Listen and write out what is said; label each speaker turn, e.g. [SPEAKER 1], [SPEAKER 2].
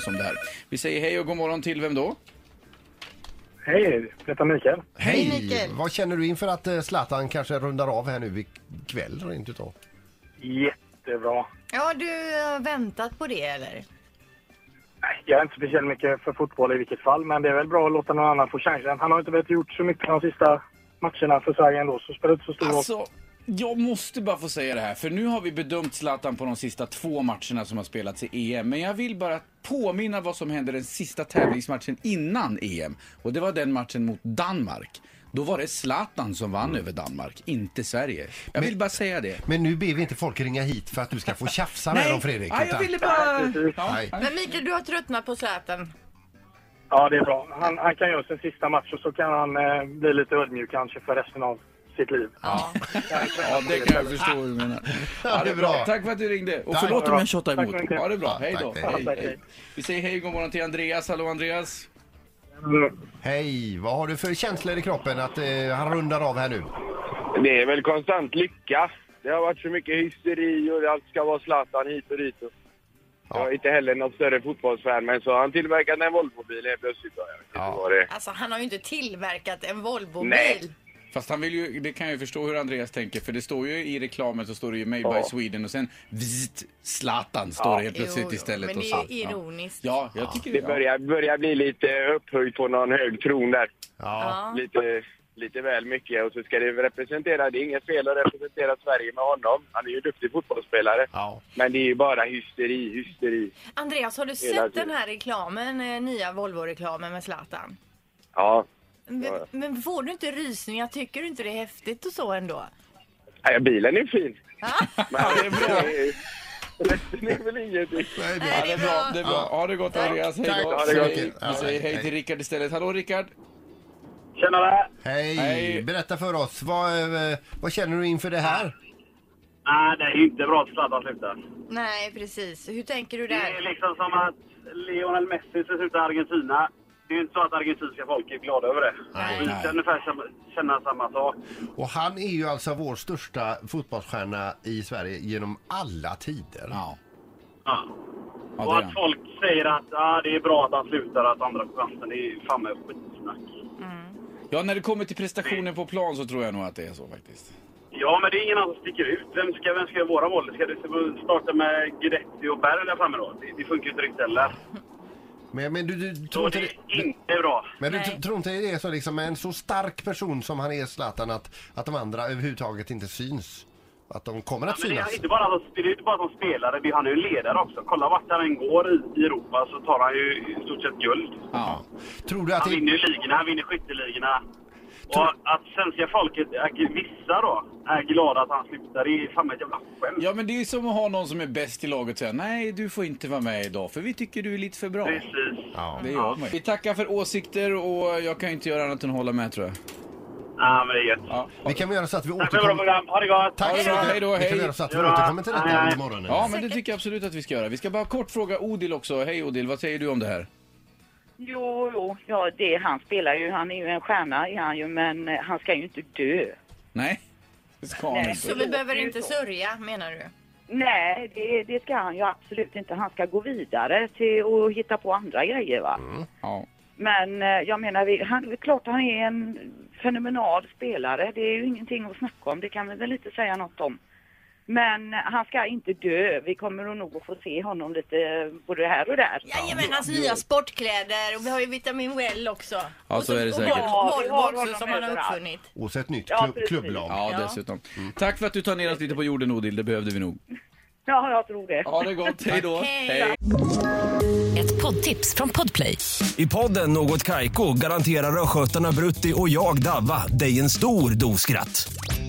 [SPEAKER 1] som det här. Vi säger hej och god morgon till vem då?
[SPEAKER 2] Hej, detta är Mikael.
[SPEAKER 3] Hej, Mikael.
[SPEAKER 4] Vad känner du inför att eh, Zlatan kanske rundar av här nu ikväll rent utav?
[SPEAKER 2] Jättebra.
[SPEAKER 3] Ja, du har väntat på det eller?
[SPEAKER 2] Nej, Jag är inte speciellt mycket för fotboll i vilket fall, men det är väl bra att låta någon annan få chansen. Han har inte behövt gjort så mycket de sista matcherna för Sverige ändå, så spelar det inte så stor roll.
[SPEAKER 1] Alltså, jag måste bara få säga det här, för nu har vi bedömt Zlatan på de sista två matcherna som har spelats i EM. Men jag vill bara påminna vad som hände den sista tävlingsmatchen innan EM. Och det var den matchen mot Danmark. Då var det Zlatan som vann över Danmark, inte Sverige. Jag vill bara säga det.
[SPEAKER 4] Men nu ber vi inte folk ringa hit för att du ska få tjafsa med dem Fredrik.
[SPEAKER 1] nej, jag
[SPEAKER 4] utan-
[SPEAKER 1] ville bara...
[SPEAKER 4] Nej.
[SPEAKER 1] Ja.
[SPEAKER 3] Men Mikael, du har tröttnat på Zlatan.
[SPEAKER 2] Ja, det är bra. Han, han kan göra sin sista match och så kan han eh, bli lite ödmjuk kanske för resten av sitt liv.
[SPEAKER 3] Ja.
[SPEAKER 1] Ja, det kan jag förstå hur du menar. Ja, det är bra. Tack för att du ringde. Och
[SPEAKER 4] Tack.
[SPEAKER 1] förlåt om jag tjatar
[SPEAKER 2] Tack
[SPEAKER 1] emot.
[SPEAKER 2] så mycket.
[SPEAKER 1] Ja, det är bra. Hej då.
[SPEAKER 4] tack, hej.
[SPEAKER 1] Hej, hej. Vi säger hej och god morgon till Andreas. Hallå Andreas.
[SPEAKER 2] Mm.
[SPEAKER 4] Hej, vad har du för känslor i kroppen att eh, han rundar av här nu?
[SPEAKER 5] Det är väl konstant lycka. Det har varit så mycket hysteri och allt ska vara Zlatan hit och dit. Och Jag är inte heller något större fotbollsfan, men så har han tillverkat en Volvo-bil helt plötsligt. Jag vet inte vad det är.
[SPEAKER 3] Alltså, han har ju inte tillverkat en Volvo-bil.
[SPEAKER 5] Nej.
[SPEAKER 1] Fast han vill ju, det kan jag ju förstå hur Andreas tänker, för det står ju i reklamen så står det ju Made by
[SPEAKER 5] Ja.
[SPEAKER 1] Sweden och sen vzzt, Zlatan står det helt plötsligt
[SPEAKER 3] Jo, jo,
[SPEAKER 1] istället.
[SPEAKER 3] men
[SPEAKER 1] och
[SPEAKER 3] det
[SPEAKER 1] så.
[SPEAKER 3] är ju ironiskt.
[SPEAKER 1] Ja, ja jag tycker
[SPEAKER 5] Det
[SPEAKER 1] ja.
[SPEAKER 5] börjar, börjar bli lite upphöjt på någon hög tron där.
[SPEAKER 4] Ja.
[SPEAKER 5] Lite, lite väl mycket. Och så ska det representera, det är inget fel att representera Sverige med honom. Han är ju en duktig fotbollsspelare.
[SPEAKER 4] Ja.
[SPEAKER 5] Men det är ju bara hysteri, hysteri.
[SPEAKER 3] Andreas, har du
[SPEAKER 5] Hela
[SPEAKER 3] sett
[SPEAKER 5] tiden.
[SPEAKER 3] den här reklamen, eh, nya Volvo-reklamen med Zlatan?
[SPEAKER 5] Ja,
[SPEAKER 3] Men,
[SPEAKER 5] Ja.
[SPEAKER 3] men får du inte rysningar? Tycker du inte det är häftigt och så ändå?
[SPEAKER 5] Nej, bilen är fin.
[SPEAKER 3] Ja.
[SPEAKER 5] Men det är bra. Resten är väl ingenting.
[SPEAKER 4] Nej, det-
[SPEAKER 1] Ja, det är bra. Det är bra. Ha det gott Andreas. Hej då.
[SPEAKER 5] Ha det gott.
[SPEAKER 1] Vi
[SPEAKER 4] Ja,
[SPEAKER 1] säger hej
[SPEAKER 4] hej.
[SPEAKER 1] till Rickard istället. Hallå Rickard.
[SPEAKER 2] Tjenare!
[SPEAKER 4] Hej.
[SPEAKER 1] Hej.
[SPEAKER 4] berätta för oss. Vad, eh, vad känner du inför det här?
[SPEAKER 2] Nej, det är inte bra att Zlatan slutar.
[SPEAKER 3] Nej, precis. Hur tänker du
[SPEAKER 2] Det är
[SPEAKER 3] där?
[SPEAKER 2] liksom som att Lionel Messi ska sluta i Argentina. Det är ju inte så att argentinska folk är glada över det.
[SPEAKER 3] Nej.
[SPEAKER 2] Vi
[SPEAKER 1] Nej.
[SPEAKER 2] ska ungefär samma- känna samma sak.
[SPEAKER 4] Och han är ju alltså vår största fotbollsstjärna i Sverige genom alla tider.
[SPEAKER 1] Ja,
[SPEAKER 2] Ja.
[SPEAKER 1] ja det
[SPEAKER 2] Och
[SPEAKER 1] är
[SPEAKER 2] att
[SPEAKER 1] han.
[SPEAKER 2] folk säger att ah, det är bra att han slutar, att andra får chansen, det är fan med skitsnack.
[SPEAKER 1] Ja, när det kommer till prestationen på plan så tror jag nog att det är så faktiskt.
[SPEAKER 2] Ja, men det är ingen annan som sticker ut. Vem ska, vem ska göra våra mål? Ska det starta med Guidetti och Berg där framme då? Det, det funkar ju inte riktigt heller.
[SPEAKER 4] Men, men du, du tror
[SPEAKER 2] Så
[SPEAKER 4] inte
[SPEAKER 2] det
[SPEAKER 4] det...
[SPEAKER 2] är inte bra.
[SPEAKER 4] Men du
[SPEAKER 3] Nej.
[SPEAKER 4] tr- tror inte det är så liksom med en så stark person som han är Zlatan att, att de andra överhuvudtaget inte syns? Att de kommer att
[SPEAKER 2] Men det
[SPEAKER 4] synas?
[SPEAKER 2] är inte bara, att- det är inte bara som spelare, det är, han är ju ledare också. Kolla vart han än går i, i Europa så tar han ju i stort sett guld.
[SPEAKER 1] Ja.
[SPEAKER 4] Tror du att
[SPEAKER 2] Han
[SPEAKER 4] det...
[SPEAKER 2] vinner ju ligorna, han vinner skytteligorna. Och att svenska folket, är, vissa då, är glada att han slutar, det är fan ett jävla skämt.
[SPEAKER 1] ja, men det är ju som att ha någon som är bäst i laget och säga nej, du får inte vara med idag för vi tycker du är lite för bra.
[SPEAKER 2] Precis.
[SPEAKER 4] Ja.
[SPEAKER 1] Det gör man ju. Vi tackar för åsikter och jag kan ju inte göra annat än att hålla med tror jag.
[SPEAKER 2] Ja, men det är gött.
[SPEAKER 1] Ja, ha
[SPEAKER 4] Vi
[SPEAKER 1] det.
[SPEAKER 4] kan väl göra så att vi
[SPEAKER 2] Tack för ett bra
[SPEAKER 4] återkommer...
[SPEAKER 2] program. Ha det gott!
[SPEAKER 4] Tack
[SPEAKER 1] Hej
[SPEAKER 4] så
[SPEAKER 1] då,
[SPEAKER 4] mycket.
[SPEAKER 1] hej då,
[SPEAKER 4] Vi
[SPEAKER 1] hej.
[SPEAKER 4] kan väl göra så att vi
[SPEAKER 2] Hej då.
[SPEAKER 4] återkommer till
[SPEAKER 2] Hej,
[SPEAKER 4] detta
[SPEAKER 2] hej.
[SPEAKER 4] under morgonen.
[SPEAKER 1] ja men det tycker jag absolut att vi ska göra. Vi ska bara kort fråga Odil också. Hej Odil, vad säger du om det här?
[SPEAKER 6] Jo, jo, ja, det, han spelar ju, han är ju en stjärna är han ju, men eh, han ska ju inte dö.
[SPEAKER 1] Nej, det ska han
[SPEAKER 6] Nej.
[SPEAKER 3] Så
[SPEAKER 1] inte.
[SPEAKER 3] vi behöver inte sörja, menar du?
[SPEAKER 6] Nej, det, det ska han ju absolut inte. Han ska gå vidare till och hitta på andra grejer va.
[SPEAKER 1] Ja.
[SPEAKER 6] Men eh, jag menar, vi, han, det är klart han är en fenomenal spelare. Det är ju ingenting att snacka om, det kan vi väl inte säga något om. Men eh, han ska inte dö. Vi kommer nog att få se honom lite eh, både här och där.
[SPEAKER 3] Jajamän, hans alltså, nya sportkläder och vi har ju Vitamin Well också.
[SPEAKER 1] Ja,
[SPEAKER 3] Och
[SPEAKER 1] så Alltså, är det säkert.
[SPEAKER 3] Och
[SPEAKER 6] Ja, vi
[SPEAKER 3] Volvo
[SPEAKER 6] har
[SPEAKER 3] också
[SPEAKER 6] honom
[SPEAKER 3] som han har
[SPEAKER 6] överallt.
[SPEAKER 3] uppfunnit.
[SPEAKER 4] Och så ett nytt
[SPEAKER 6] Ja,
[SPEAKER 4] klubb,
[SPEAKER 6] precis.
[SPEAKER 4] klubblag.
[SPEAKER 1] Ja,
[SPEAKER 3] Ja.
[SPEAKER 1] dessutom. Tack för att du tar ner oss lite på jorden Odil, det behövde vi nog.
[SPEAKER 6] Ja, jag tror det.
[SPEAKER 1] Ha det gott, hej då.
[SPEAKER 3] Hej.
[SPEAKER 7] Ett poddtips från Podplay.
[SPEAKER 8] I podden Något Kaiko garanterar östgötarna Brutti och jag, Davva, dig en stor dos skratt.